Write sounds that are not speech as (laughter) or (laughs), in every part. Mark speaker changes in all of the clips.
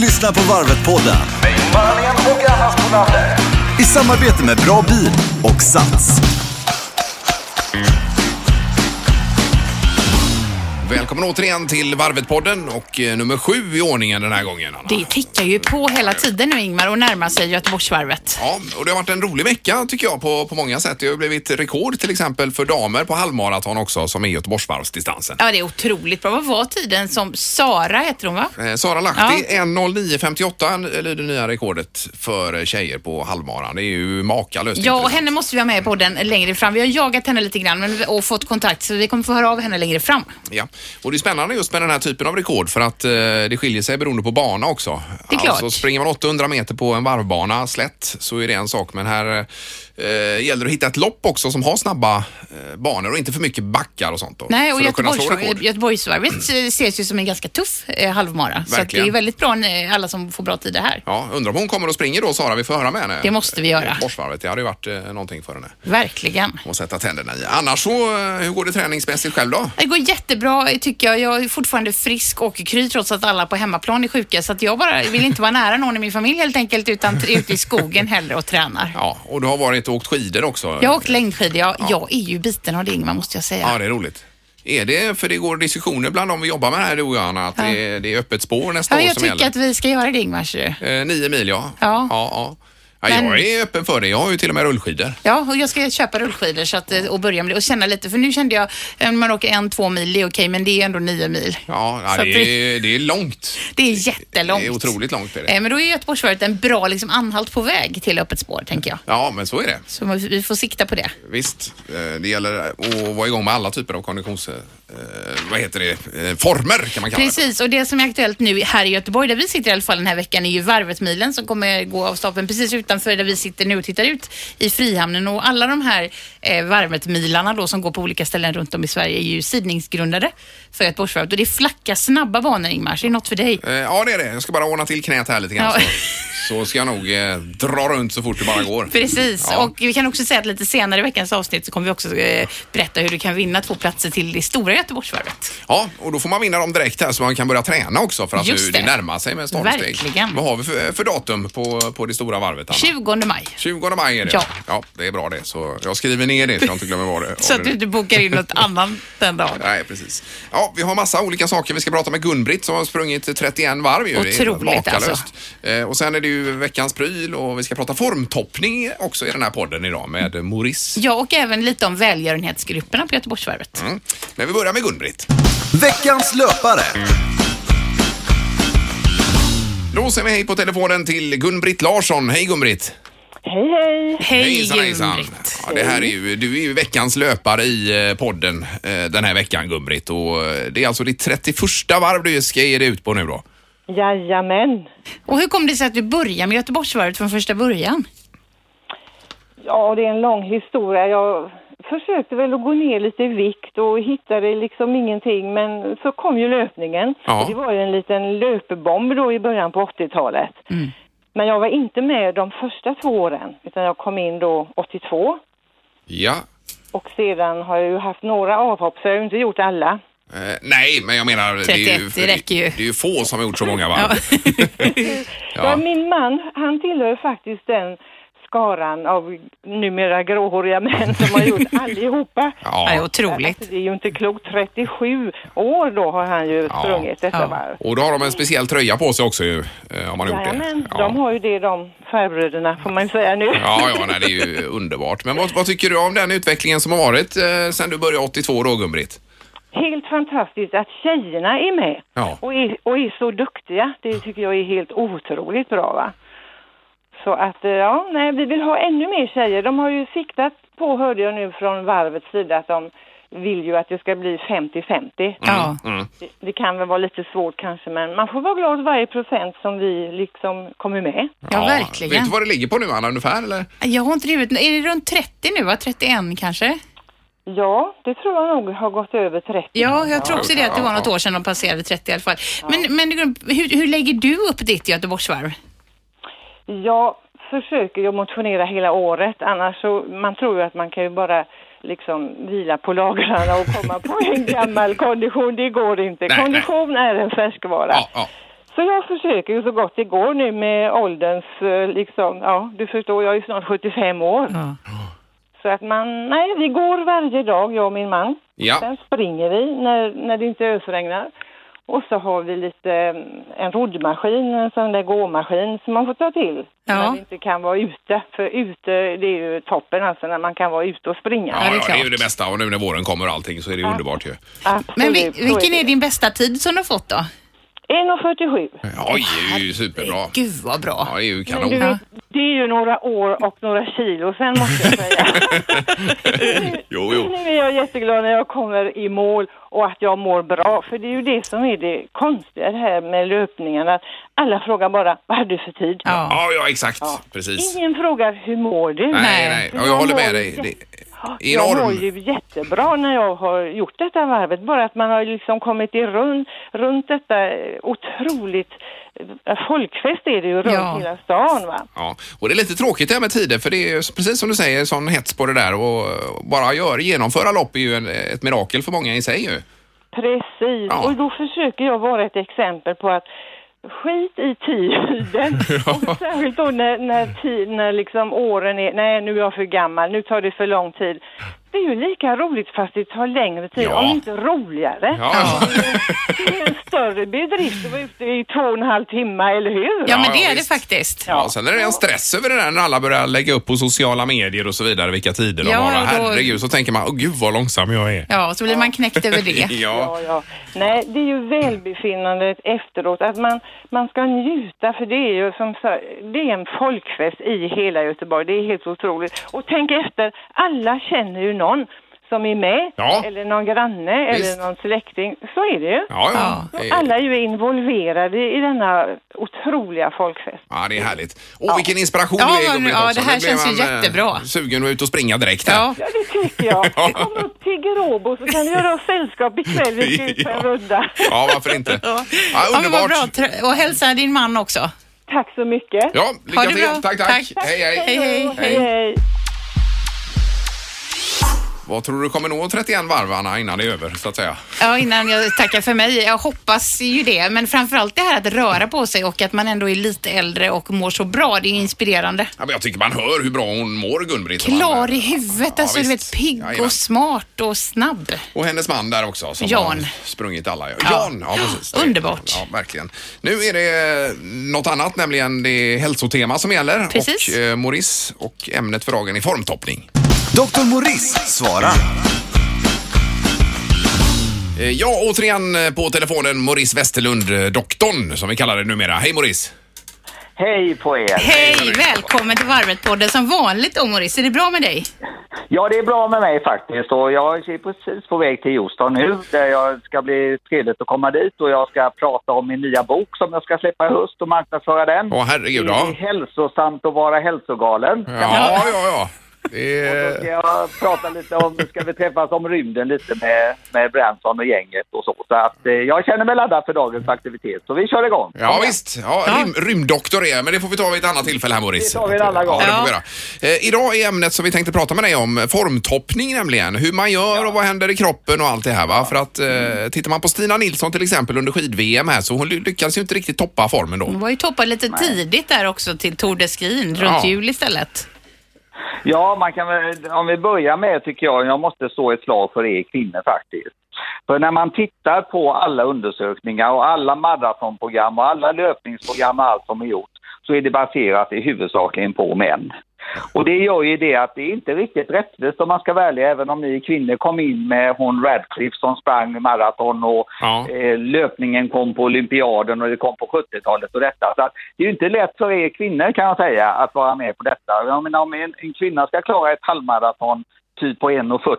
Speaker 1: lyssnar på Varvet-podden i samarbete med Bra Bil och Sats.
Speaker 2: Välkommen återigen till Varvet-podden och eh, nummer sju i ordningen den här gången. Anna.
Speaker 3: Det tickar ju på hela tiden nu Ingmar och närmar sig Göteborgsvarvet.
Speaker 2: Ja, och det har varit en rolig vecka tycker jag på, på många sätt. Det har ju blivit rekord till exempel för damer på halvmaraton också som är Göteborgsvarvsdistansen.
Speaker 3: Ja, det är otroligt bra. Vad var tiden som Sara heter hon va?
Speaker 2: Eh, Sara Lahti, 1.09.58 lyder nya rekordet för tjejer på halvmaran. Det är ju makalöst
Speaker 3: Ja, och
Speaker 2: intressant.
Speaker 3: henne måste vi ha med på den längre fram. Vi har jagat henne lite grann men, och fått kontakt så vi kommer få höra av henne längre fram.
Speaker 2: Ja, och det är spännande just med den här typen av rekord för att eh, det skiljer sig beroende på bana också.
Speaker 3: Det är klart.
Speaker 2: Alltså springer man 800 meter på en varvbana slätt så är det en sak, men här eh, gäller det att hitta ett lopp också som har snabba eh, banor och inte för mycket backar och sånt då,
Speaker 3: Nej, och
Speaker 2: för att kunna slå
Speaker 3: Göteborgs,
Speaker 2: rekord.
Speaker 3: Göteborgsvarvet eh, ses ju som en ganska tuff eh, halvmara. Så att det
Speaker 2: Verkligen.
Speaker 3: är väldigt bra när alla som får bra tider här.
Speaker 2: Ja, undrar om hon kommer och springer då Sara, vi får höra med henne.
Speaker 3: Det måste vi göra.
Speaker 2: Borsvarvet, det hade ju varit eh, någonting för henne
Speaker 3: Verkligen.
Speaker 2: att sätta tänderna i. Annars så, eh, hur går det träningsmässigt själv då?
Speaker 3: Det går jättebra tycker jag. Jag är fortfarande frisk och kry trots att alla på hemmaplan är sjuka. Så att jag bara vill inte vara nära någon i min familj helt enkelt utan är ute i skogen hellre och tränar.
Speaker 2: Ja, och du har varit och åkt skidor också.
Speaker 3: Jag har åkt längdskidor. Jag, jag är ju biten av det Ingmar måste jag säga.
Speaker 2: Ja, det är roligt. Är det, för det går diskussioner bland dem vi jobbar med här du och jag, Anna, att det, är, det är öppet spår nästa
Speaker 3: Ja,
Speaker 2: år
Speaker 3: jag
Speaker 2: som
Speaker 3: tycker
Speaker 2: gäller?
Speaker 3: att vi ska göra det Ingmar. ser du.
Speaker 2: Eh, nio mil, ja.
Speaker 3: Ja.
Speaker 2: ja, ja. ja
Speaker 3: Men-
Speaker 2: Jag är öppen för det. Jag har ju till och med rullskidor.
Speaker 3: Ja, och jag ska köpa rullskidor så att, eh, och börja med det och känna lite. För nu kände jag, eh, man åker en, två mil, det är okej, men det är ändå nio mil.
Speaker 2: Ja,
Speaker 3: Så
Speaker 2: ja
Speaker 3: att
Speaker 2: det, är, det är långt.
Speaker 3: Det är jättelångt.
Speaker 2: Det är otroligt långt. Är det.
Speaker 3: Eh, Men då är Göteborgsvarvet en bra liksom, anhalt på väg till öppet spår, tänker jag.
Speaker 2: Ja, men så är det.
Speaker 3: Så vi vi får sikta på det.
Speaker 2: Visst, eh, det gäller att vara igång med alla typer av konditions... eh, Vad heter det? Eh, Former kan man kalla det.
Speaker 3: Precis, och det som är aktuellt nu här i Göteborg, där vi sitter i alla fall den här veckan, är ju Varvetmilen som kommer gå av stapeln precis utanför där vi sitter nu och tittar ut i Frihamnen. Och alla de här eh, Varvetmilarna då som går på olika ställen runt om i Sverige är ju sidningsgrundade för Göteborgsvarvet. Och det är flacka, snabba banor, Ingmar, så det är något för dig.
Speaker 2: Eh, Ja, det är det. Jag ska bara ordna till knät här lite grann.
Speaker 3: Ja.
Speaker 2: Så, så ska jag nog eh, dra runt så fort det bara går.
Speaker 3: Precis,
Speaker 2: Ja.
Speaker 3: och vi kan också säga att lite senare i veckans avsnitt så kommer vi också eh, berätta hur du kan vinna två platser till det stora Göteborgsvarvet.
Speaker 2: Ja, och då får man vinna dem direkt här så man kan börja träna också för att
Speaker 3: Just
Speaker 2: nu, det.
Speaker 3: det.
Speaker 2: närmar sig med stormsteg.
Speaker 3: Verkligen.
Speaker 2: Vad har vi för, för datum på, på det stora varvet, Anna?
Speaker 3: 20 maj.
Speaker 2: 20 maj är det.
Speaker 3: Ja.
Speaker 2: ja. Det är bra det. Så jag skriver ner det så jag inte glömmer vad det
Speaker 3: (laughs) Så
Speaker 2: vad
Speaker 3: att
Speaker 2: det-
Speaker 3: du inte bokar in något annat den dagen.
Speaker 2: Nej, precis. Ja, vi har massa olika saker. Vi ska prata med Gun-Britt som har sprungit 31 varv. Ju. Det är
Speaker 3: Otroligt,
Speaker 2: makalöst.
Speaker 3: alltså.
Speaker 2: Eh, Och sen är det ju veckans pryl och vi ska prata formtoppning också i den här podden idag med Maurice.
Speaker 3: Ja, och även lite om välgörenhetsgrupperna på Göteborgsvarvet.
Speaker 2: Mm. Men vi börjar med Gun-Britt.
Speaker 1: Veckans löpare.
Speaker 2: Då säger vi hej på telefonen till Gun-Britt Larsson. Hej Gun-Britt!
Speaker 4: Hej, hej!
Speaker 3: Hej Gun-Britt!
Speaker 2: Gun-Britt! Ja, det här är ju, du är ju veckans löpare i eh, podden eh, den här veckan Gun-Britt och eh, det är alltså ditt 31 varv du ska ge dig ut på nu då.
Speaker 4: Jajamän!
Speaker 3: Och hur kom det sig att du började med Göteborgsvarvet från första början?
Speaker 4: Ja, det är en lång historia. Jag försökte väl att gå ner lite i vikt och hittade liksom ingenting, men så kom ju löpningen.
Speaker 2: Ja.
Speaker 4: Och Det var ju en liten löpebomb då i början på 80-talet. Men jag var inte med de första två åren, utan jag kom in då 82.
Speaker 2: Ja.
Speaker 4: Och sedan har jag ju haft några avhopp, så jag har ju inte gjort alla.
Speaker 2: Eh, nej, men jag menar det är, ju,
Speaker 3: 31, det räcker ju.
Speaker 2: det är ju få som har gjort så många varv. (laughs)
Speaker 4: Ja. min man, han tillhör faktiskt den skaran av numera gråhåriga män som har gjort allihopa.
Speaker 3: Ja, det är
Speaker 2: Ja.
Speaker 3: otroligt.
Speaker 2: Mm,
Speaker 4: Alltså, det är ju inte klokt. 37 år då har han ju
Speaker 2: Ja.
Speaker 4: sprungit detta
Speaker 3: Ja.
Speaker 4: varv.
Speaker 2: Och då har de en speciell tröja på sig också ju, eh, om man har gjort det.
Speaker 4: Jajamän, de har ju det de farbröderna får man ju säga nu.
Speaker 2: Ja, ja, nej, det är ju underbart. Men vad, vad tycker du om den utvecklingen som har varit eh, sen du började 82 då Gun-Britt?
Speaker 4: Helt fantastiskt att tjejerna är med
Speaker 2: Ja.
Speaker 4: och, är, och är så duktiga. Det tycker jag är helt otroligt bra va. Så att eh, ja, nej, vi vill ha ännu mer tjejer. De har ju siktat på, hörde jag nu från varvets sida, att de vill ju att det ska bli 50-50.
Speaker 2: mm.
Speaker 3: Ja.
Speaker 4: Det, det kan väl vara lite svårt kanske, men man får vara glad varje procent som vi liksom kommer med.
Speaker 3: ja,
Speaker 2: Vet du
Speaker 3: verkligen.
Speaker 2: vad det ligger på nu Anna ungefär eller?
Speaker 3: Jag har inte rivit, är det runt 30 nu va? 31 kanske?
Speaker 4: Ja, det tror jag nog har gått över 30.
Speaker 3: Ja, jag tror också det att det var
Speaker 2: Ja,
Speaker 3: något år sedan de passerade 30 i alla fall. Men, men Gun- hur, hur lägger du upp ditt Göteborgsvarv?
Speaker 4: Jag försöker ju motionera hela året, annars så man tror ju att man kan ju bara liksom vila på lagrarna
Speaker 2: (laughs)
Speaker 4: och komma på en gammal kondition. Det går inte.
Speaker 2: Nej, nej.
Speaker 4: kondition är en färskvara.
Speaker 2: Ja, ja.
Speaker 4: Så jag försöker ju så gott det går nu med ålderns, eh, liksom, ja, du förstår, jag är ju snart 75 år.
Speaker 2: Mm.
Speaker 3: Ja.
Speaker 4: Så att man, nej, vi går varje dag, jag och min man.
Speaker 2: Ja,
Speaker 4: Sen springer vi när, när det inte ösregnar. Och så har vi lite eh, en roddmaskin, en sån där gåmaskin som man får ta till
Speaker 3: Ja.
Speaker 4: när vi inte kan vara ute. För ute, det är ju toppen alltså när man kan vara ute och springa.
Speaker 2: ja,
Speaker 3: det är
Speaker 2: ja, det är ju
Speaker 3: klart.
Speaker 2: det bästa och nu när våren kommer och allting så är det ju underbart ju.
Speaker 4: Absolut,
Speaker 3: Men vi,
Speaker 4: så
Speaker 3: vilken
Speaker 4: det.
Speaker 3: är din bästa tid som du har fått då?
Speaker 4: 1,47.
Speaker 2: Oj, det är ju superbra.
Speaker 3: Gud vad
Speaker 2: Ja,
Speaker 3: bra.
Speaker 2: det är ju
Speaker 4: Men du
Speaker 2: kanon.
Speaker 3: Ja.
Speaker 4: vet, det är ju några år och några kilo sen måste jag säga.
Speaker 2: (laughs) Jo, jo.
Speaker 4: Nu är jag jätteglad när jag kommer i mål och att jag mår bra. För det är ju det som är det konstiga det här med löpningen. Att alla frågar bara, vad hade du för tid?
Speaker 3: Ja.
Speaker 2: Ja, ja, exakt. Precis.
Speaker 4: Ingen frågar, hur mår du?
Speaker 2: Nej, nej. Ja, jag håller med dig. Det är
Speaker 4: Jag mår
Speaker 2: enorm.
Speaker 4: ju jättebra när jag har gjort detta varvet. Bara att man har liksom kommit i rund, runt detta eh, otroligt... eh, Folkfest är det ju runt
Speaker 3: Ja.
Speaker 4: hela stan va.
Speaker 2: Ja, och det är lite tråkigt det här med tider för det är ju precis som du säger sån hets på det där och eh, bara gör, genomföra lopp är ju en, eh, ett mirakel för många i sig ju.
Speaker 4: Precis,
Speaker 2: Ja.
Speaker 4: och då försöker jag vara ett exempel på att skit i
Speaker 2: (laughs)
Speaker 4: tiden. Och särskilt då när, när, ti- när liksom åren är, nej nu är jag för gammal, nu tar det för lång tid. Det är ju lika roligt fast det tar längre tid,
Speaker 2: Ja.
Speaker 4: om inte roligare.
Speaker 2: Ja,
Speaker 4: Det är en större bedrift att vara ute i två och en halv timme, eller hur?
Speaker 3: Ja,
Speaker 2: Ja,
Speaker 3: men det
Speaker 2: ja,
Speaker 3: är det
Speaker 2: visst.
Speaker 3: faktiskt.
Speaker 2: ja. sen är det en stress över det där när alla börjar lägga upp på sociala medier och så vidare vilka tider de
Speaker 3: Ja,
Speaker 2: har.
Speaker 3: då-
Speaker 2: Herregud, så tänker man, åh gud vad långsam jag är.
Speaker 3: Ja, så blir man knäckt över det.
Speaker 2: (laughs) Ja,
Speaker 4: Ja, ja. Nej, det är ju välbefinnandet efteråt, att man, man ska njuta för det är ju som sa- det är en folkfest i hela Göteborg, det är helt otroligt. Och tänk efter, alla känner ju någon som är med,
Speaker 2: Ja.
Speaker 4: eller någon granne,
Speaker 2: Visst.
Speaker 4: eller någon släkting, så är det ju.
Speaker 2: ja. ja.
Speaker 3: Ja.
Speaker 2: Eh,
Speaker 4: Alla är ju involverade i denna otroliga folkfest.
Speaker 2: Ja, det är härligt. Åh, vilken inspiration
Speaker 3: Ja,
Speaker 2: du är, Gun-Britt,
Speaker 3: ja,
Speaker 2: också.
Speaker 3: det här
Speaker 2: Nu blev
Speaker 3: känns ju
Speaker 2: man, eh,
Speaker 3: jättebra.
Speaker 2: Sugen att ut och springa direkt här.
Speaker 3: Ja.
Speaker 4: Ja, det tycker
Speaker 2: (laughs)
Speaker 4: jag. Kom upp till Gråbo så kan du göra oss sällskap ikväll, vi ska ut på en
Speaker 2: (laughs) Ja.
Speaker 4: runda.
Speaker 2: Ja, varför inte? Ja,
Speaker 3: (laughs) Ja, men vad
Speaker 2: underbart.
Speaker 3: bra. Trö- Och hälsa din man också.
Speaker 4: Tack så mycket.
Speaker 2: Ja, lycka
Speaker 3: Ha det
Speaker 2: till.
Speaker 3: bra.
Speaker 2: Tack, tack.
Speaker 3: Tack.
Speaker 2: Hej, hej.
Speaker 3: Hej, hej.
Speaker 4: Hej, hej.
Speaker 2: Vad tror du kommer nå 31 varv, Anna, innan det är över, så att säga?
Speaker 3: Ja, innan jag tackar för mig. Jag hoppas ju det, men framförallt det här att röra på sig och att man ändå är lite äldre och mår så bra. Det är inspirerande.
Speaker 2: Ja, men jag tycker man hör hur bra hon mår, Gun-Britt. eh,
Speaker 3: Klar i huvudet,
Speaker 2: Ja,
Speaker 3: alltså du
Speaker 2: visst.
Speaker 3: vet pigg
Speaker 2: Jajamän.
Speaker 3: och smart och snabb.
Speaker 2: Och hennes man där också som
Speaker 3: Jan.
Speaker 2: har sprungit alla. Ja. Jan, ja precis. Det-
Speaker 3: Underbart.
Speaker 2: Ja, verkligen. Nu är det eh, något annat, nämligen det är hälsotema som gäller.
Speaker 3: Precis.
Speaker 2: Och eh, Morris och ämnet för dagen är formtoppning.
Speaker 1: Dr. Morris svarar.
Speaker 2: Eh, ja, återigen eh, på telefonen Morris Westerlund, eh, doktorn som vi kallar det numera. Hej Morris!
Speaker 5: Hej på er!
Speaker 3: Hej, välkommen till Varvet-podden som vanligt då Morris. Är det bra med dig?
Speaker 5: Ja, det är bra med mig faktiskt och jag är precis på väg till Houston nu där jag ska bli trevligt att komma dit och jag ska prata om min nya bok som jag ska släppa i höst och marknadsföra den.
Speaker 2: Åh herregud, ja.
Speaker 5: Det är hälsosamt att vara hälsogalen.
Speaker 2: Ja, ja, ja. Det
Speaker 5: Då
Speaker 2: är...
Speaker 5: ska jag prata lite om, ska vi träffas om rymden lite med, med Branson och gänget och så. Så att eh, jag känner mig laddad för dagens aktivitet så vi kör igång.
Speaker 2: Ja visst, ja, rym, rymddoktor är jag, men det får vi ta vid ett annat tillfälle här Morris.
Speaker 5: Det tar vi en annan gång.
Speaker 2: Ja, det får vi
Speaker 3: Ja.
Speaker 2: göra. Eh, idag är ämnet som vi tänkte prata med dig om formtoppning nämligen. Hur man gör och vad händer i kroppen och allt det här va. För att eh, tittar man på Stina Nilsson till exempel under skid-VM här så hon ly- lyckades ju inte riktigt toppa formen då.
Speaker 3: Hon var ju toppad lite tidigt där också till Tour de Skien runt
Speaker 2: Ja.
Speaker 3: jul istället.
Speaker 5: Ja, man kan väl, om vi börjar med tycker jag, jag måste slå ett slag för er kvinnor faktiskt. För när man tittar på alla undersökningar och alla maratonprogram och alla löpningsprogram och allt som är gjort så är det baserat i huvudsakligen på män. Och det gör ju det att det är inte riktigt rättvist om man ska välja även om ni kvinnor kom in med hon Radcliffe som sprang maraton och
Speaker 2: Ja.
Speaker 5: eh, löpningen kom på olympiaden och det kom på 70-talet och detta. Så att det är ju inte lätt för er kvinnor kan jag säga att vara med på detta. Jag menar, om en, en kvinna ska klara ett halvmaraton typ på 1,40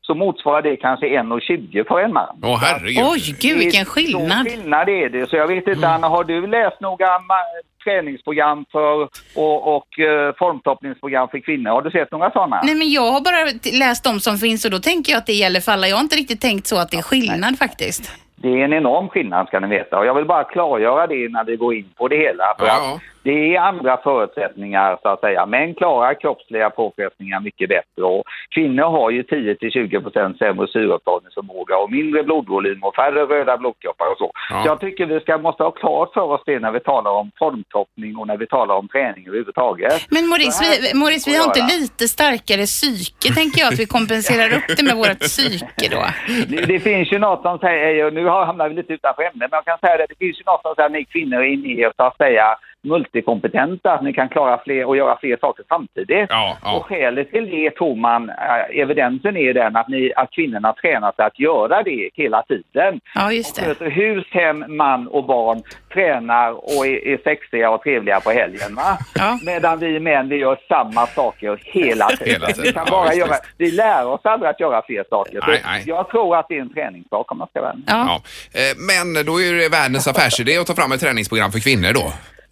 Speaker 5: så motsvarar det kanske 1,20 för en man.
Speaker 2: Åh herregud.
Speaker 3: Oj, gud vilken skillnad. Mm.
Speaker 5: Stor skillnad är det. Så jag vet inte, Anna, har du läst några ma- träningsprogram för, och, och eh, formtoppningsprogram för kvinnor? Har du sett några sådana?
Speaker 3: Nej men jag har bara t- läst de som finns och då tänker jag att det gäller för alla. Jag har inte riktigt tänkt så att det är skillnad faktiskt.
Speaker 5: Det är en enorm skillnad ska ni veta. Och jag vill bara klargöra det innan vi går in på det hela. För
Speaker 2: Ja,
Speaker 5: att
Speaker 2: ja.
Speaker 5: Det är andra förutsättningar så att säga. Män klarar kroppsliga påfrestningar mycket bättre och kvinnor har ju 10 till 20 procent sämre syreupptagningsförmåga och mindre blodvolym och färre röda blodkroppar och så.
Speaker 2: Ja.
Speaker 5: Så jag tycker vi ska, måste ha klart för oss det när vi talar om formtoppning och när vi talar om träning överhuvudtaget.
Speaker 3: Men Maurice,
Speaker 5: Så här
Speaker 3: vi, Maurice, vi har
Speaker 5: får
Speaker 3: inte
Speaker 5: jag göra.
Speaker 3: lite starkare psyke, tänker jag, att vi kompenserar upp det med vårt psyke då.
Speaker 5: Det, det finns ju något som säger, och nu har- hamnar vi lite utanför ämnet, men jag kan säga det, det finns ju något som säger att ni kvinnor är inne i er så att säga multikompetenta, att ni kan klara fler och göra fler saker samtidigt.
Speaker 2: Ja, ja.
Speaker 5: Och skälet till det tror man, eh, evidensen är den att, ni, att kvinnorna tränar sig att göra det hela tiden.
Speaker 3: Ja, just det.
Speaker 5: Sköter hus, hem, man och barn, tränar och är, är sexiga och trevliga på helgen. Va?
Speaker 3: Ja.
Speaker 5: Medan vi män, vi gör samma saker hela tiden.
Speaker 2: Hela tiden,
Speaker 5: Vi, kan
Speaker 2: ja,
Speaker 5: bara
Speaker 2: visst,
Speaker 5: göra,
Speaker 2: visst.
Speaker 5: vi lär oss aldrig att göra fler saker. Så
Speaker 2: Nej, nej.
Speaker 5: Jag tror att det är en träningssak om man ska vara ärlig.
Speaker 3: Ja.
Speaker 2: Ja. Eh, Men då är det världens affärsidé att ta fram ett träningsprogram för kvinnor då,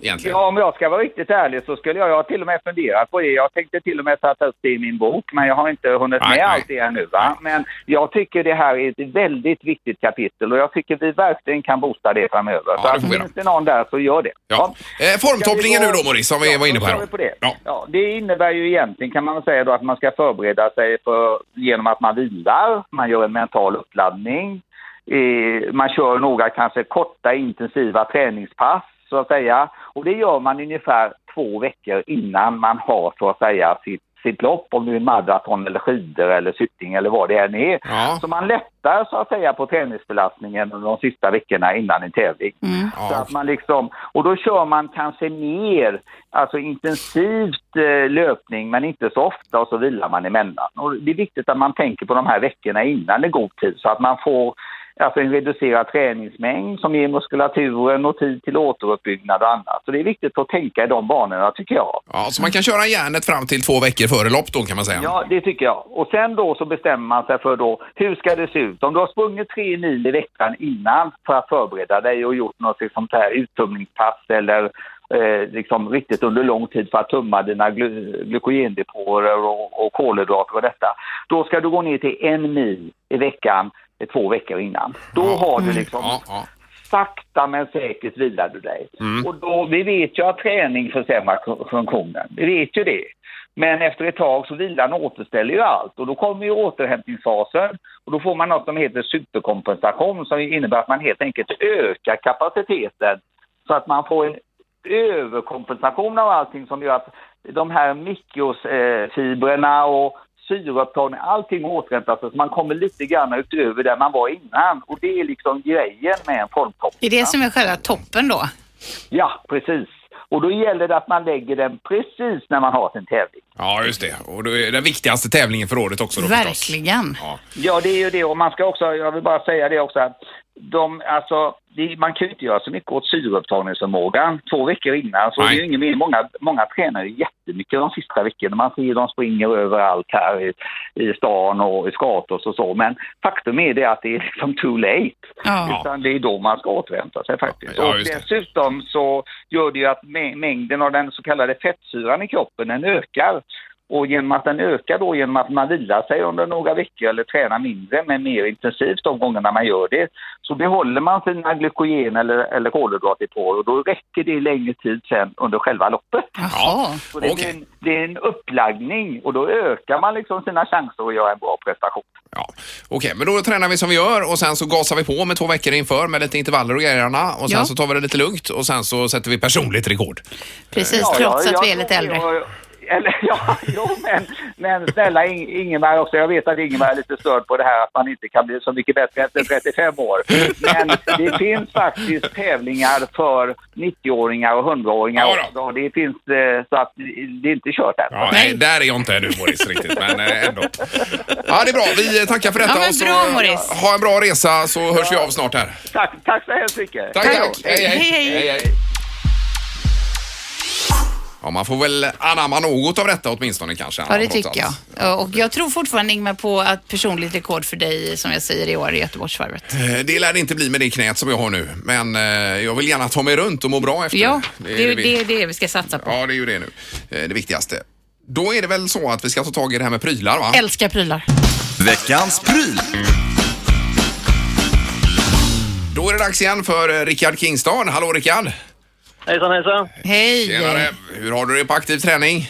Speaker 2: egentligen.
Speaker 5: Ja, om jag ska vara riktigt ärlig så skulle jag, jag har till och med funderat på det. Jag tänkte till och med sätta upp det i min bok, men jag har inte hunnit
Speaker 2: Nej,
Speaker 5: med
Speaker 2: nej.
Speaker 5: allt det ännu. Va? Men jag tycker det här är ett väldigt viktigt kapitel och jag tycker vi verkligen kan boosta det framöver.
Speaker 2: Ja,
Speaker 5: så
Speaker 2: det
Speaker 5: att
Speaker 2: får vi
Speaker 5: finns det någon där så gör det.
Speaker 2: Ja. Eh, Formtoppningen nu då, Maurice, som vi var inne på här.
Speaker 5: då. På det.
Speaker 2: Ja.
Speaker 5: Ja. det innebär ju egentligen kan man väl säga då att man ska förbereda sig för, genom att man vilar, man gör en mental uppladdning, eh, man kör några kanske korta intensiva träningspass så att säga. Och det gör man ungefär två veckor innan man har så att säga sitt sitt lopp, om det är maraton eller skidor eller cykling eller vad det än är.
Speaker 2: Ja.
Speaker 5: Så man lättar så att säga på träningsbelastningen under de sista veckorna innan en tävling.
Speaker 3: Mm.
Speaker 5: Så
Speaker 2: Ja.
Speaker 5: att man liksom, och då kör man kanske mer alltså intensivt eh, löpning men inte så ofta och så vilar man emellan. Och det är viktigt att man tänker på de här veckorna innan i god tid så att man får alltså en reducerad träningsmängd som ger muskulaturen och tid till återuppbyggnad och annat. Så det är viktigt att tänka i de banorna tycker jag.
Speaker 2: Ja, så man kan köra järnet fram till två veckor före lopp då kan man säga.
Speaker 5: Ja, det tycker jag. Och sen då så bestämmer man sig för då, hur ska det se ut? Om du har sprungit tre mil i veckan innan för att förbereda dig och gjort något sånt här uttömningspass eller eh, liksom riktigt under lång tid för att tömma dina glu- glykogendepåer och, och kolhydrater och detta. Då ska du gå ner till en mil i veckan eh, två veckor innan. Då har du liksom
Speaker 2: Ja, ja.
Speaker 5: sakta men säkert vilar du dig. Och då, vi vet ju att träning försämrar k- funktionen. Vi vet ju det. Men efter ett tag så vilan återställer ju allt och då kommer ju återhämtningsfasen och då får man något som heter superkompensation som innebär att man helt enkelt ökar kapaciteten så att man får en överkompensation av allting som gör att de här mikrofibrerna och syreupptagning, allting återhämtar sig så man kommer lite grann utöver där man var innan och det är liksom grejen med en formtopp.
Speaker 3: Det är det som är själva toppen då.
Speaker 5: Ja, precis. Och då gäller det att man lägger den precis när man har sin tävling.
Speaker 2: ja, just det. Och då är det den viktigaste tävlingen för året också då förstås.
Speaker 3: Verkligen.
Speaker 2: Ja.
Speaker 5: Ja, det är ju det. Och man ska också, jag vill bara säga det också, att de, alltså, det, man kan ju inte göra så mycket åt syreupptagningsförmågan två veckor innan. Så
Speaker 2: Nej.
Speaker 5: det är ju ingen mening. Många, många tränar ju jättemycket de sista veckorna. Man ser ju de springer överallt här i, i stan och i Skatås och så. Men faktum är det att det är liksom too late.
Speaker 3: Ja.
Speaker 5: Utan det är då man ska återhämta sig faktiskt.
Speaker 2: Ja,
Speaker 5: och
Speaker 2: just det.
Speaker 5: dessutom så gör det ju att mä- mängden av den så kallade fettsyran i kroppen den ökar. Och genom att den ökar då genom att man vilar sig under några veckor eller tränar mindre men mer intensivt de gångerna man gör det så behåller man sina glykogen eller, eller kolhydratdepåer och då räcker det längre tid sen under själva loppet.
Speaker 3: Jaha.
Speaker 5: Så det,
Speaker 2: Okej.
Speaker 5: blir en, det är en upplaggning och då ökar man liksom sina chanser att göra en bra prestation.
Speaker 2: Ja. Okej, men då tränar vi som vi gör och sen så gasar vi på med två veckor inför med lite intervaller och grejerna och sen
Speaker 3: Ja.
Speaker 2: så tar vi det lite lugnt och sen så sätter vi personligt rekord.
Speaker 3: Precis,
Speaker 5: Ja,
Speaker 3: trots
Speaker 5: ja,
Speaker 3: att vi är
Speaker 5: jag-
Speaker 3: lite äldre.
Speaker 5: jag- eller, (laughs) ja, jo, men, men snälla Ing- Ingemar också. Jag vet att Ingemar är lite störd på det här att man inte kan bli så mycket bättre efter 35 år. Men det finns faktiskt tävlingar för 90-åringar och 100-åringar
Speaker 2: Ja då.
Speaker 5: också. Det finns eh, så att det är inte kört än.
Speaker 2: Ja,
Speaker 3: Nej.
Speaker 2: nej. där är jag inte ännu Boris riktigt, men eh, ändå. Ja, det är bra. Vi tackar för detta
Speaker 3: Ja, men
Speaker 2: och så
Speaker 3: bra, Boris.
Speaker 2: ha en bra resa så hörs vi av snart här.
Speaker 5: Tack, tack så hemskt mycket.
Speaker 2: Tack,
Speaker 5: Hej då.
Speaker 2: tack. Hej, hej.
Speaker 3: Hej, hej.
Speaker 2: Ja, man får väl anamma något av detta åtminstone kanske.
Speaker 3: Ja, det
Speaker 2: trots allt.
Speaker 3: tycker jag. Ja, Och jag tror fortfarande, Ingmar, på att personligt rekord för dig, som jag säger, i år i Göteborgsvarvet.
Speaker 2: Eh, Det lär det inte bli med det knät som jag har nu, men eh, jag vill gärna ta mig runt och må bra efter
Speaker 3: Ja,
Speaker 2: det.
Speaker 3: det är
Speaker 2: vi-
Speaker 3: det, är det vi ska satsa på.
Speaker 2: Ja, det är ju det nu. Eh, Det viktigaste. Då är det väl så att vi ska ta tag i det här med prylar, va?
Speaker 3: Älskar prylar.
Speaker 1: Veckans pryl.
Speaker 2: Då är det dags igen för eh, Rickard Kingstad. Hallå Rickard!
Speaker 6: Hejsan hejsan!
Speaker 3: Hej!
Speaker 2: Tjenare! Hur har du det på aktiv träning?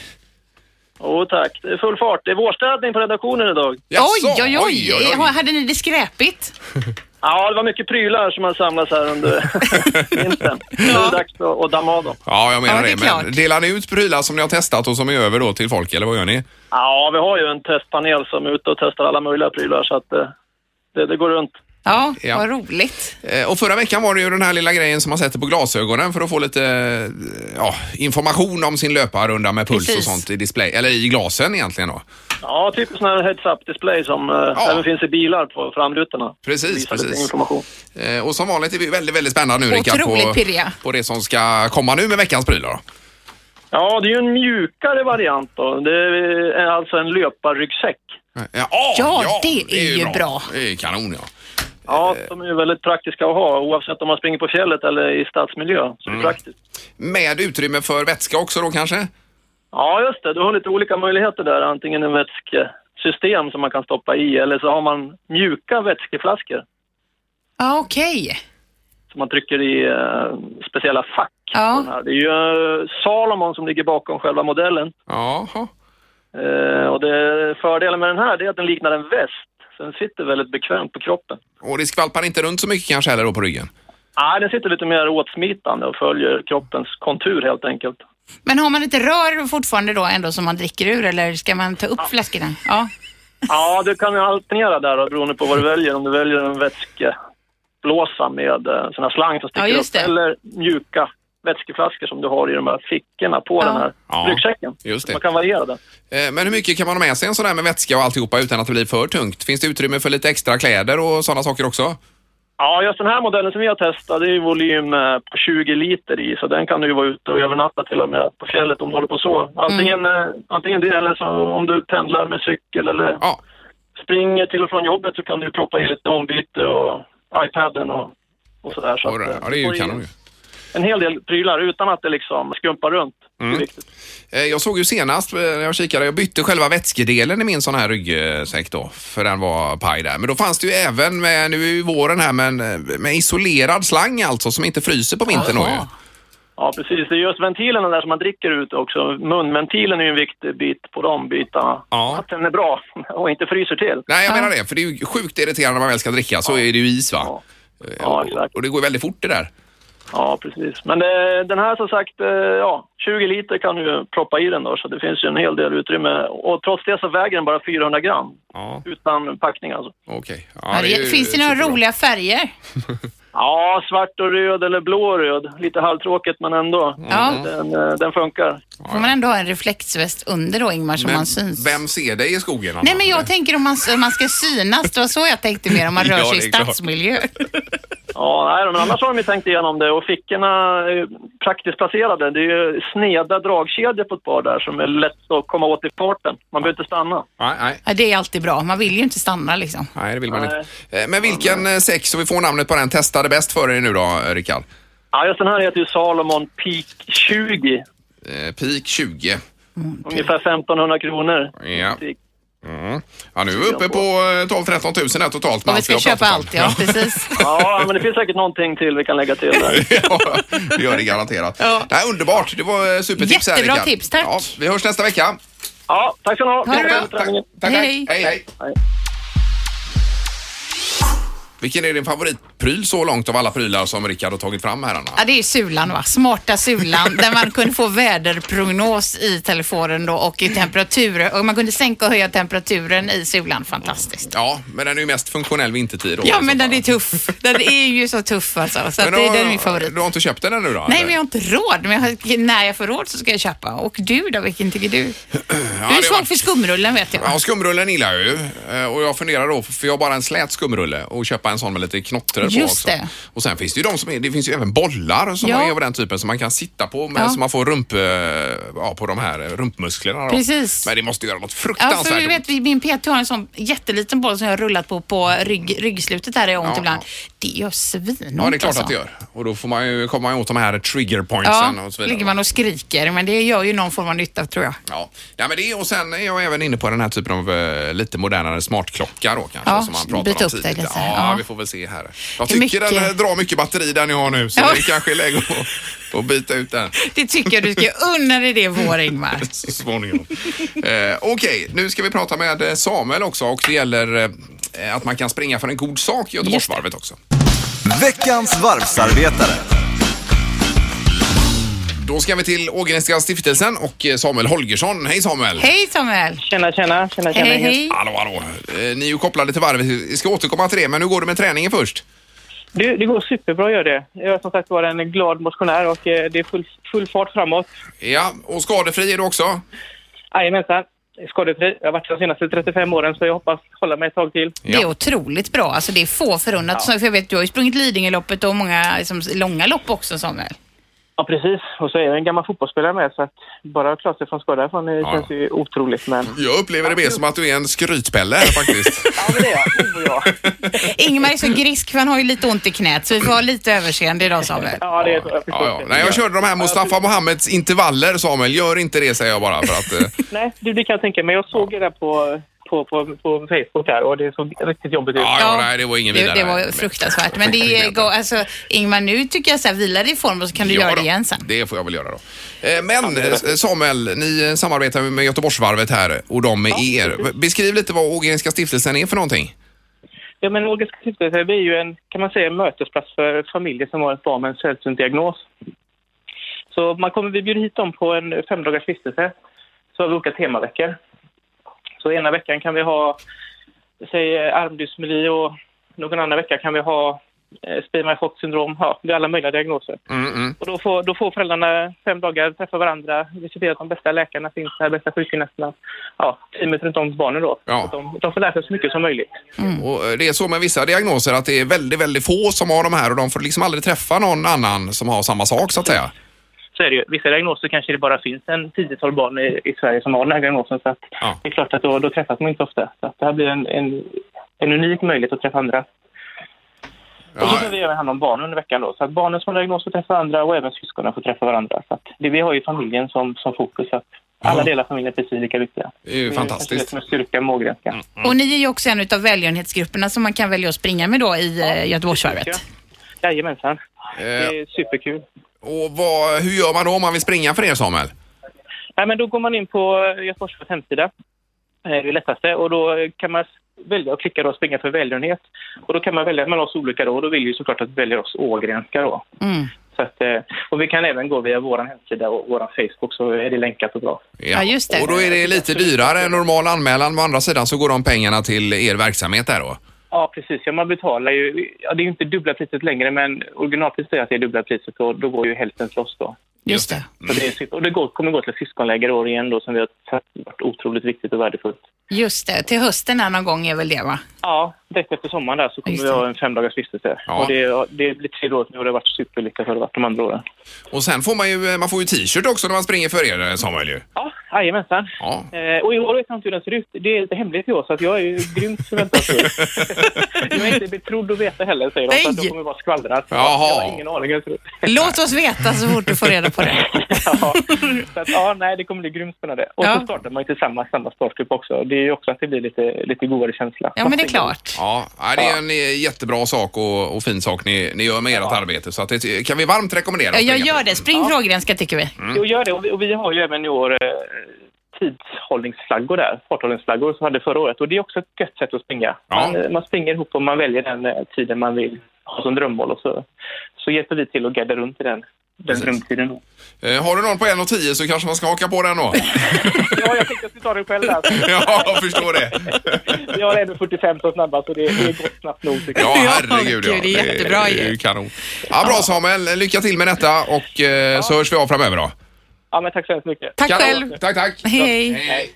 Speaker 6: Jo tack, det är full fart. Det är vårstädning på redaktionen idag.
Speaker 2: Jaså,
Speaker 3: Oj, oj, oj, Ha- Hade ni det skräpigt?
Speaker 6: Ja, det var mycket prylar som hade samlats här
Speaker 2: (laughs)
Speaker 6: under vintern. Nu är det dags att, att damma av dem.
Speaker 2: Ja, jag menar
Speaker 3: Ja, det är
Speaker 2: det. Men
Speaker 3: klart.
Speaker 2: delar ni ut prylar som ni har testat och som är över då till folk, eller vad gör ni?
Speaker 6: Ja, vi har ju en testpanel som är ute och testar alla möjliga prylar så att eh, det, det går runt.
Speaker 3: Ja,
Speaker 2: Ja.
Speaker 3: vad roligt.
Speaker 2: Eh, Och förra veckan var det ju den här lilla grejen som man sätter på glasögonen för att få lite eh, ja, information om sin löparrunda med puls
Speaker 3: Precis.
Speaker 2: och sånt i display, eller i glasen egentligen då.
Speaker 6: Ja, typ en sån här heads-up display som eh,
Speaker 2: Ja.
Speaker 6: även finns i bilar på framrutorna.
Speaker 2: Precis,
Speaker 6: Visar lite
Speaker 2: precis.
Speaker 6: Information.
Speaker 2: Eh, Och som vanligt är vi väldigt, väldigt spännande nu Rickard
Speaker 3: Otroligt
Speaker 2: på,
Speaker 3: pirriga.
Speaker 2: på det som ska komma nu med veckans prylar. Då.
Speaker 6: Ja, det är ju en mjukare variant då. Det är alltså en löparryggsäck.
Speaker 2: Eh, Ja,
Speaker 3: Ja, det är ju bra.
Speaker 2: Det är kanon ja.
Speaker 6: Ja,
Speaker 2: Eh.
Speaker 6: de är ju väldigt praktiska att ha oavsett om man springer på fjället eller i stadsmiljö. Så
Speaker 2: Mm.
Speaker 6: det är praktiskt.
Speaker 2: Med utrymme för vätska också då kanske?
Speaker 6: Ja, just det. Du har lite olika möjligheter där. Antingen en vätskesystem som man kan stoppa i eller så har man mjuka vätskeflaskor
Speaker 3: Ja, okej.
Speaker 6: som man trycker i eh, speciella fack.
Speaker 3: Ja.
Speaker 6: på den här. Det är ju eh, Salomon som ligger bakom själva modellen.
Speaker 2: Jaha.
Speaker 6: Eh, och det, fördelen med den här det är att den liknar en väst. Så den sitter väldigt bekvämt på kroppen.
Speaker 2: Och det skvalpar inte runt så mycket kanske heller då på ryggen?
Speaker 6: Nej, den sitter lite mer åtsmitande och följer kroppens kontur helt enkelt.
Speaker 3: Men har man inte rör fortfarande då ändå som man dricker ur eller ska man ta upp flaskorna? Ja.
Speaker 6: Ja, du kan ju alternera där då, beroende på vad du väljer. Om du väljer en vätskeblåsa med eh, sån här slang som sticker
Speaker 3: Ja, just
Speaker 6: upp
Speaker 3: det.
Speaker 6: eller mjuka vätskeflaskor som du har i de här fickorna på
Speaker 3: Ja.
Speaker 6: den här
Speaker 2: Ja,
Speaker 6: ryggsäcken.
Speaker 2: just det.
Speaker 6: Man kan variera den.
Speaker 2: Eh, Men hur mycket kan man ha med sig en sån där med vätska och alltihopa utan att det blir för tungt? Finns det utrymme för lite extra kläder och sådana saker också?
Speaker 6: Ja, just den här modellen som vi har testat, det är ju volym eh, på 20 liter i, så den kan du ju vara ute och övernatta till och med på fjället om du håller på så. Antingen,
Speaker 3: Mm.
Speaker 6: eh, antingen det eller så om du pendlar med cykel eller
Speaker 2: Ja,
Speaker 6: springer till och från jobbet så kan du proppa i lite ombyte och iPaden och, och sådär. Så
Speaker 2: och-
Speaker 6: att, eh,
Speaker 2: ja det är
Speaker 6: får
Speaker 2: ju
Speaker 6: i-
Speaker 2: kanon ju.
Speaker 6: en hel del prylar utan att det liksom skumpar runt. Det är viktigt.
Speaker 2: Eh, Jag såg ju senast eh, när jag kikade, jag bytte själva vätskedelen i min sån här ryggsäck då, för den var paj där. Men då fanns det ju även med, nu är ju våren här, men eh, med isolerad slang alltså som inte fryser på vintern då ju.
Speaker 3: Jaha.
Speaker 6: Ja, precis. Det är just ventilerna där som man dricker ut också. Munventilen är ju en viktig bit på de bitarna.
Speaker 2: Ja.
Speaker 6: Att den är bra (laughs) och inte fryser till.
Speaker 2: Nej, jag menar det, för det är ju sjukt irriterande när man väl ska dricka, så är det ju is va?
Speaker 6: Ja.
Speaker 2: Eh,
Speaker 6: Ja,
Speaker 2: och-
Speaker 6: exakt.
Speaker 2: Och det går ju väldigt fort det där.
Speaker 6: Ja, precis. Men eh, den här som sagt, eh, ja, 20 liter kan du ju proppa i den då, så det finns ju en hel del utrymme. Och trots det så väger den bara 400 gram.
Speaker 2: Ja,
Speaker 6: Utan packning alltså.
Speaker 2: okej. Ja,
Speaker 3: Ja,
Speaker 2: det är
Speaker 3: det,
Speaker 2: ju
Speaker 3: finns det några
Speaker 2: superbra.
Speaker 3: roliga färger?
Speaker 6: Ja, svart och röd eller blå och röd. Lite halvtråkigt men ändå.
Speaker 3: Ja.
Speaker 6: Den, eh, den funkar.
Speaker 3: Får man ändå ha en reflexväst under då Ingmar så
Speaker 2: Men
Speaker 3: man syns?
Speaker 2: Vem ser dig i skogen? Anna?
Speaker 3: Nej men jag tänker om man, om man ska synas, det var så jag tänkte mer om man
Speaker 2: (laughs)
Speaker 3: rör
Speaker 2: Ja,
Speaker 3: sig i
Speaker 2: det är klart.
Speaker 3: stadsmiljö.
Speaker 6: Ja, nej, men annars har de ju tänkt igenom det och fickorna är ju praktiskt placerade. Det är ju sneda dragkedjor på ett par där som är lätt att komma åt i farten. Man behöver inte stanna.
Speaker 2: Nej, nej.
Speaker 3: Ja, det är alltid bra, man vill ju inte stanna liksom.
Speaker 2: Nej, det vill man
Speaker 6: Nej.
Speaker 2: inte. Eh, Men vilken eh, sex, så vi får namnet på den, testade bäst för er nu då, eh, Rickard?
Speaker 6: Ja, just den här heter ju Salomon Peak 20.
Speaker 2: Eh, Peak 20.
Speaker 6: Ungefär 1500 kronor.
Speaker 2: Ja. Ja, nu är vi uppe på eh, 12-13 000 här totalt. med
Speaker 3: Och vi
Speaker 2: allt
Speaker 3: ska
Speaker 2: har pratat
Speaker 3: köpa
Speaker 2: om.
Speaker 3: allt ja, precis.
Speaker 6: Ja, men det finns säkert någonting till vi kan lägga till där.
Speaker 2: (laughs) Ja, det gör det garanterat.
Speaker 3: Ja.
Speaker 2: Nej, underbart, det var eh, supertips här
Speaker 3: Jättebra
Speaker 2: Rickard.
Speaker 3: tips, tack.
Speaker 2: Ja, vi hörs nästa vecka.
Speaker 6: Ja, tack ska ni ha.
Speaker 3: det bra.
Speaker 6: Lycka till med träningen.
Speaker 2: Tack,
Speaker 3: Hej.
Speaker 2: tack. Hej, hej.
Speaker 6: Hej.
Speaker 2: Vilken är din favoritpryl så långt av alla prylar som Rickard har tagit fram här Anna?
Speaker 3: Ja, det är Sulan va? Smarta Sulan där man kunde få väderprognos i telefonen då och i temperaturer och man kunde sänka och höja temperaturen i Sulan. Fantastiskt.
Speaker 2: Ja, men den är ju mest funktionell vintertid. då, i
Speaker 3: Ja,
Speaker 2: så
Speaker 3: men
Speaker 2: fall.
Speaker 3: den är tuff. Den är ju så tuff alltså. Så att det,
Speaker 2: då-
Speaker 3: den är min favorit.
Speaker 2: Du har inte köpt den ännu då?
Speaker 3: Nej,
Speaker 2: eller?
Speaker 3: men jag har inte råd. Men jag, har- när jag får råd så ska jag köpa. Och du då, vilken tycker du?
Speaker 2: Ja,
Speaker 3: du är
Speaker 2: det
Speaker 3: svag
Speaker 2: var-
Speaker 3: för skumrullen vet jag.
Speaker 2: Ja, skumrullen gillar jag ju Eh, och jag funderar då, för jag har bara en slät skumrulle och köpa en sån med lite knottror på
Speaker 3: Just
Speaker 2: också.
Speaker 3: det.
Speaker 2: Och sen finns det ju de som är, det finns ju även bollar som
Speaker 3: Ja.
Speaker 2: är av den typen som man kan sitta på med,
Speaker 3: Ja.
Speaker 2: så man får rump, eh, ja, på de här eh, rumpmusklerna då.
Speaker 3: Precis.
Speaker 2: Men det måste göra något
Speaker 3: Ja,
Speaker 2: fruktansvärt
Speaker 3: för du
Speaker 2: ont.
Speaker 3: vet, min PT har en sån jätteliten boll som jag har rullat på på rygg, ryggslutet där det gör ont
Speaker 2: Ja,
Speaker 3: ibland.
Speaker 2: ja.
Speaker 3: Det gör svinont
Speaker 2: Ja, det är klart
Speaker 3: alltså.
Speaker 2: att det gör. Och då får man ju, kommer man ju åt de här trigger
Speaker 3: Ja,
Speaker 2: pointsen och så vidare.
Speaker 3: ligger man och skriker, men det gör ju någon form av nytta tror jag.
Speaker 2: Ja. ja, men det och sen är jag även inne på den här typen av eh, lite modernare smartklocka då kanske
Speaker 3: Ja,
Speaker 2: som man pratade
Speaker 3: byta
Speaker 2: om
Speaker 3: upp det
Speaker 2: tidigare.
Speaker 3: lite.
Speaker 2: Ja,
Speaker 3: Ja.
Speaker 2: vi får väl se här. Jag
Speaker 3: Det är
Speaker 2: tycker
Speaker 3: mycket.
Speaker 2: den eh, drar mycket batteri där ni har nu så
Speaker 3: Ja.
Speaker 2: det kanske är läge att, att byta ut den
Speaker 3: Det tycker jag du ska unna dig det vår, Ingmar.
Speaker 2: så småningom. eh, Okej, nu ska vi prata med eh, Samuel också och det gäller eh, att man kan springa för en god sak i Göteborgsvarvet också.
Speaker 1: Veckans varvsarbetare.
Speaker 2: Då ska vi till Ågrenska stiftelsen och eh, Samuel Holgersson. Hej Samuel!
Speaker 3: Hej Samuel!
Speaker 7: Tjena, tjena, tjena, tjena.
Speaker 3: Hej, hej.
Speaker 2: Hallå, hallå. Eh, Ni är ju kopplade till varvet. Vi ska återkomma till det, men nu går det med träningen först.
Speaker 7: Du, det går superbra, gör det. Jag är som sagt var en glad motionär och eh, det är full, full fart framåt.
Speaker 2: Ja, och skadefri är du också.
Speaker 7: Jajamensan. Skadefri. Jag har varit det de senaste 35 åren så jag hoppas hålla mig ett tag till.
Speaker 3: Det är otroligt bra. Alltså det är få förunnat. Så- För jag vet, du har ju sprungit Lidingöloppet och många liksom, långa lopp också, Samuel.
Speaker 7: Ja, precis. Och så är jag en gammal fotbollsspelare med så att bara klara sig från skada härifrån det
Speaker 2: Ja.
Speaker 7: känns ju otroligt. Men...
Speaker 2: Jag upplever det mer som att du är en skrytpelle här
Speaker 3: (laughs)
Speaker 2: faktiskt.
Speaker 7: Ja, men det är jag. Det är jag.
Speaker 3: Ingmar är så grisk för han har ju lite ont i knät så vi får ha lite överseende idag, Samuel.
Speaker 7: Ja, det är så. Jag
Speaker 2: Ja,
Speaker 7: förstår
Speaker 2: ja.
Speaker 7: det.
Speaker 2: Nej, jag körde de här Mustafa Mohammeds intervaller, Samuel. Gör inte det, säger jag bara. För
Speaker 3: (laughs)
Speaker 2: att, eh,
Speaker 7: Nej, du, det kan jag tänka mig. Jag såg det där på, på, på, på Facebook här och det såg riktigt jobbigt ut.
Speaker 2: ja, ja, nej, det var ingen
Speaker 3: det,
Speaker 2: vidare.
Speaker 3: det var fruktansvärt. Men det är, går- alltså, Ingmar, nu tycker jag så här, vila dig i form och så kan du
Speaker 2: Ja
Speaker 3: göra
Speaker 2: då,
Speaker 3: det igen sen.
Speaker 2: Det får jag väl göra då. Eh, Men eh, Samuel, ni eh, samarbetar med Göteborgsvarvet här och de med er. Beskriv lite vad Ågrenska stiftelsen är för någonting.
Speaker 7: Ja, men Ågrenska stiftelse det är ju en, kan man säga, en mötesplats för familjer som har ett barn med en sällsynt diagnos. Så man kommer, vi bjuder hit dem på en femdagars vistelse. Så har vi olika temaveckor. Så ena veckan kan vi ha, säg eh, armdysmeli och någon annan vecka kan vi ha eh, spima chock syndrom. Ja, det är alla möjliga diagnoser.
Speaker 2: Mm, mm.
Speaker 7: Och då får, då får föräldrarna fem dagar träffa varandra, diskutera att de bästa läkarna finns här, bästa sjukgymnasterna. Ja, teamet runt om barnen då.
Speaker 2: Ja.
Speaker 7: Så att De, de får lära sig så mycket som möjligt.
Speaker 2: Och eh, det är så med vissa diagnoser att det är väldigt, väldigt få som har de här och de får liksom aldrig träffa någon annan som har samma sak så att säga.
Speaker 7: så är det ju. Vissa diagnoser kanske det bara finns en 10-12 barn i, i Sverige som har den här diagnosen. Så att
Speaker 2: Ja.
Speaker 7: det är klart att då, då träffas man inte ofta. Så att det här blir en, en, en unik möjlighet att träffa andra. Och så
Speaker 2: Ja,
Speaker 7: tar vi även hand om barnen under veckan då. Så att barnen som har diagnos får träffa andra och även syskonen får träffa varandra. Så att det, vi har ju familjen som, som fokus. Så att alla delar av familjen är precis lika viktiga.
Speaker 2: det är ju
Speaker 7: Det
Speaker 2: fantastiskt. Mm.
Speaker 7: som är styrka och målgränska.
Speaker 3: Och ni är ju också en utav välgörenhetsgrupperna som man kan välja att springa med då i eh, Göteborgsvarvet.
Speaker 7: Jajamensan.
Speaker 2: Eh,
Speaker 7: Det är superkul.
Speaker 2: och vad, hur gör man då om man vill springa för er Samuel?
Speaker 7: Nej, men då går man in på Göteborgsvarvets hemsida. Eh, Det är det lättaste. Och då kan man välja att klicka då och springa för välgörenhet. Och då kan man välja mellan oss olika då. Och då vill ju såklart att vi väljer oss Ågrenska då.
Speaker 3: Mm.
Speaker 7: Så att, eh, och vi kan även gå via vår hemsida och vår Facebook så är det länkat och bra.
Speaker 3: Ja, just det.
Speaker 2: Och då är det lite dyrare än normal anmälan. Men Å andra sidan så går de pengarna till er verksamhet där då.
Speaker 7: Ja, precis. Ja, man betalar ju... Ja, det är ju inte dubbla priset längre, men originalpriset är att det är dubbla priset och då går ju hälften till oss då.
Speaker 3: Just det.
Speaker 7: Så det är, super- och det går, kommer gå till syskonläger år igen då som vi har sagt varit otroligt viktigt och värdefullt.
Speaker 3: Just det. Till hösten här någon gång är väl det va?
Speaker 7: Ja, direkt efter sommaren där så kommer
Speaker 3: Just
Speaker 7: vi
Speaker 3: det.
Speaker 7: ha en femdagars vistelse.
Speaker 2: Ja.
Speaker 7: Och det, det blir tredje året nu och det har varit superlyckat för det har varit de andra åren.
Speaker 2: Och sen får man ju, eh, man får ju t-shirt också när man springer för er eh, Samuel ju.
Speaker 7: Ja, jajamensan.
Speaker 2: Ja.
Speaker 7: Eh, och i år vet jag inte hur den ser ut. Det är lite hemligt i år så att jag är ju grymt förväntad på det.
Speaker 3: (laughs)
Speaker 7: jag är inte betrodd att veta heller säger de, så att
Speaker 3: Nej.
Speaker 7: de kommer vara skvallrat.
Speaker 2: Jaha.
Speaker 7: Jag har ingen aning hur det ser ut. (laughs)
Speaker 3: Låt oss veta så fort du får reda på det.
Speaker 7: ja, så att, ja, nej, det kommer bli grymt spännande. Och
Speaker 3: Ja.
Speaker 7: så startar man ju tillsammans, samma startgrupp också. Det är ju också att det blir lite, lite godare känsla.
Speaker 3: Ja, men det är klart.
Speaker 2: Ja, nej, det är en eh, jättebra sak och, och fin sak ni, ni gör med ert arbete. Så att det kan vi varmt rekommendera.
Speaker 3: Ja,
Speaker 2: att
Speaker 3: jag
Speaker 2: springa
Speaker 3: gör
Speaker 2: för.
Speaker 3: det. Spring ja. Ågrenska tycker vi.
Speaker 7: Jo, gör det. Och vi, och vi har ju även i år eh, tidshållningsflaggor där, farthållningsflaggor som vi hade förra året. Och det är också ett gött sätt att springa.
Speaker 2: Ja.
Speaker 7: Man, eh, man springer ihop och man väljer den eh, tiden man vill ha som drömmål och så, så hjälper vi till att guida runt i den, den drömtiden. då.
Speaker 2: Eh, Har du någon på 1,10 så kanske man ska haka på den då. (laughs)
Speaker 7: Ja, jag tänkte att vi tar det själv där.
Speaker 2: ja, jag förstår det.
Speaker 7: Jag är ändå 45 som snabbast så det, det är gott snabbt nog. tycker jag.
Speaker 2: Ja,
Speaker 3: Ja,
Speaker 2: herregud ja.
Speaker 3: gud, det är jättebra
Speaker 2: det är
Speaker 3: ju.
Speaker 2: ju. kanon. Ja, bra Samuel, lycka till med detta och eh, så hörs vi av framöver då.
Speaker 7: Ja, men tack så hemskt mycket.
Speaker 3: Tack
Speaker 2: Kanon.
Speaker 3: själv.
Speaker 2: Tack, tack.
Speaker 3: Hej, hej.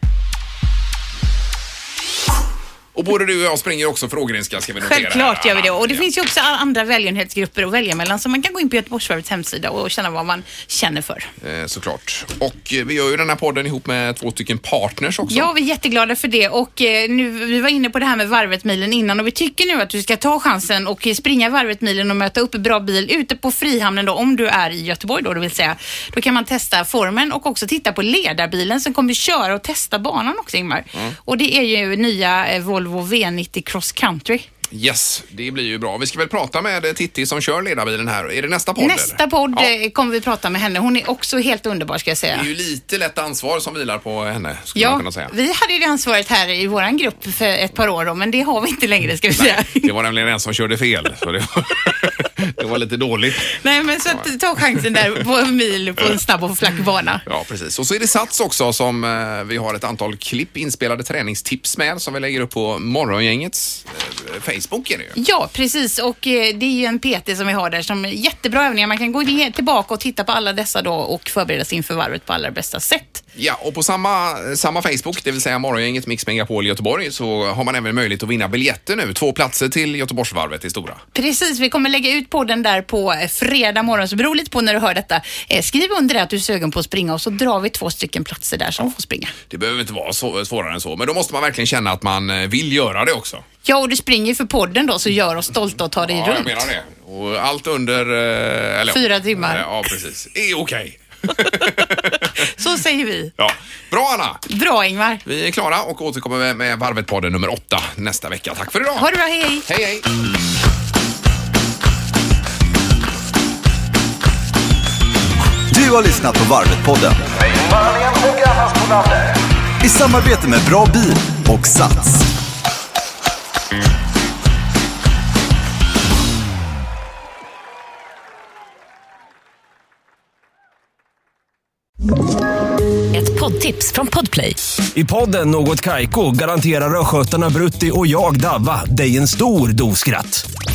Speaker 2: Och både du och jag springer också för Ågrenska ska vi notera.
Speaker 3: Självklart
Speaker 2: här.
Speaker 3: gör vi det. Och det
Speaker 2: Ja.
Speaker 3: finns ju också alla andra välgörenhetsgrupper att välja mellan så man kan gå in på Göteborgsvarvets hemsida och känna vad man känner för.
Speaker 2: Eh, Såklart. Och eh, vi gör ju den här podden ihop med två stycken partners också.
Speaker 3: Ja, vi är jätteglada för det och eh, nu, vi var inne på det här med Varvet-milen innan och vi tycker nu att du ska ta chansen och eh, springa Varvet-milen och möta upp Bra bil ute på Frihamnen då, om du är i Göteborg då, det vill säga. Då kan man testa formen och också titta på ledarbilen som kommer köra
Speaker 2: Mm.
Speaker 3: och testa banan också, Ingmar. Och det är ju nya eh, Volvo V90 Cross Country.
Speaker 2: Yes, det blir ju bra. Vi ska väl prata med eh, Titti som kör ledarbilen här. Är det nästa podd?
Speaker 3: Nästa podd
Speaker 2: Ja.
Speaker 3: eh, kommer vi prata med henne. Hon är också helt underbar ska jag
Speaker 2: Det
Speaker 3: säga.
Speaker 2: är ju lite lätt ansvar som vilar på henne, skulle man
Speaker 3: Ja,
Speaker 2: kunna säga.
Speaker 3: vi hade ju det ansvaret här i våran grupp för ett par år då, men det har vi inte längre ska vi säga.
Speaker 2: Det var nämligen en som körde fel, så det var, (laughs) det var lite dåligt.
Speaker 3: Nej, men så att, ta chansen där på en mil på en snabb och flack bana.
Speaker 2: Ja, precis. Och så är det Sats också som eh, vi har ett antal klipp inspelade träningstips med som vi lägger upp på Morgongängets eh, Facebook. Är det ju.
Speaker 3: Ja, precis. Och eh, det är ju en PT som vi har där som är jättebra övningar. Man kan gå ner- tillbaka och titta på alla dessa då och förbereda sig inför varvet på allra bästa sätt.
Speaker 2: Ja, och på samma, samma Facebook, det vill säga Morgongänget Mix Megapol Göteborg, så har man även möjlighet att vinna biljetter nu. Två platser till Göteborgsvarvet i Stora.
Speaker 3: Precis, vi kommer lägga ut podden där på eh, fredag morgon, så det beror lite på när du hör detta. Eh, Skriv under det att du är sugen på att springa och så drar vi två stycken platser där som får springa.
Speaker 2: Det behöver inte vara så, svårare än så, men då måste man verkligen känna att man eh, vill göra det också.
Speaker 3: Ja, och du springer ju för podden då, så gör oss stolta och ta dig
Speaker 2: Ja, jag
Speaker 3: runt.
Speaker 2: menar det. Och allt under... eh, Eller,
Speaker 3: Fyra timmar.
Speaker 2: Ja, precis. Är okej.
Speaker 3: Så säger vi.
Speaker 2: Ja. Bra, Anna!
Speaker 3: Bra Ingvar.
Speaker 2: Vi är klara och återkommer med- med Varvet-podden nummer åtta nästa vecka. Tack för idag!
Speaker 3: Ha det bra, hej! hej.
Speaker 2: Hej, hej!
Speaker 1: Du har lyssnat på Varvet-podden. I samarbete med Bra bil och Sats.
Speaker 8: Ett poddtips från Podplay.
Speaker 9: I podden Något Kaiko garanterar östgötarna Brutti och jag, Davva, dig en stor dos skratt.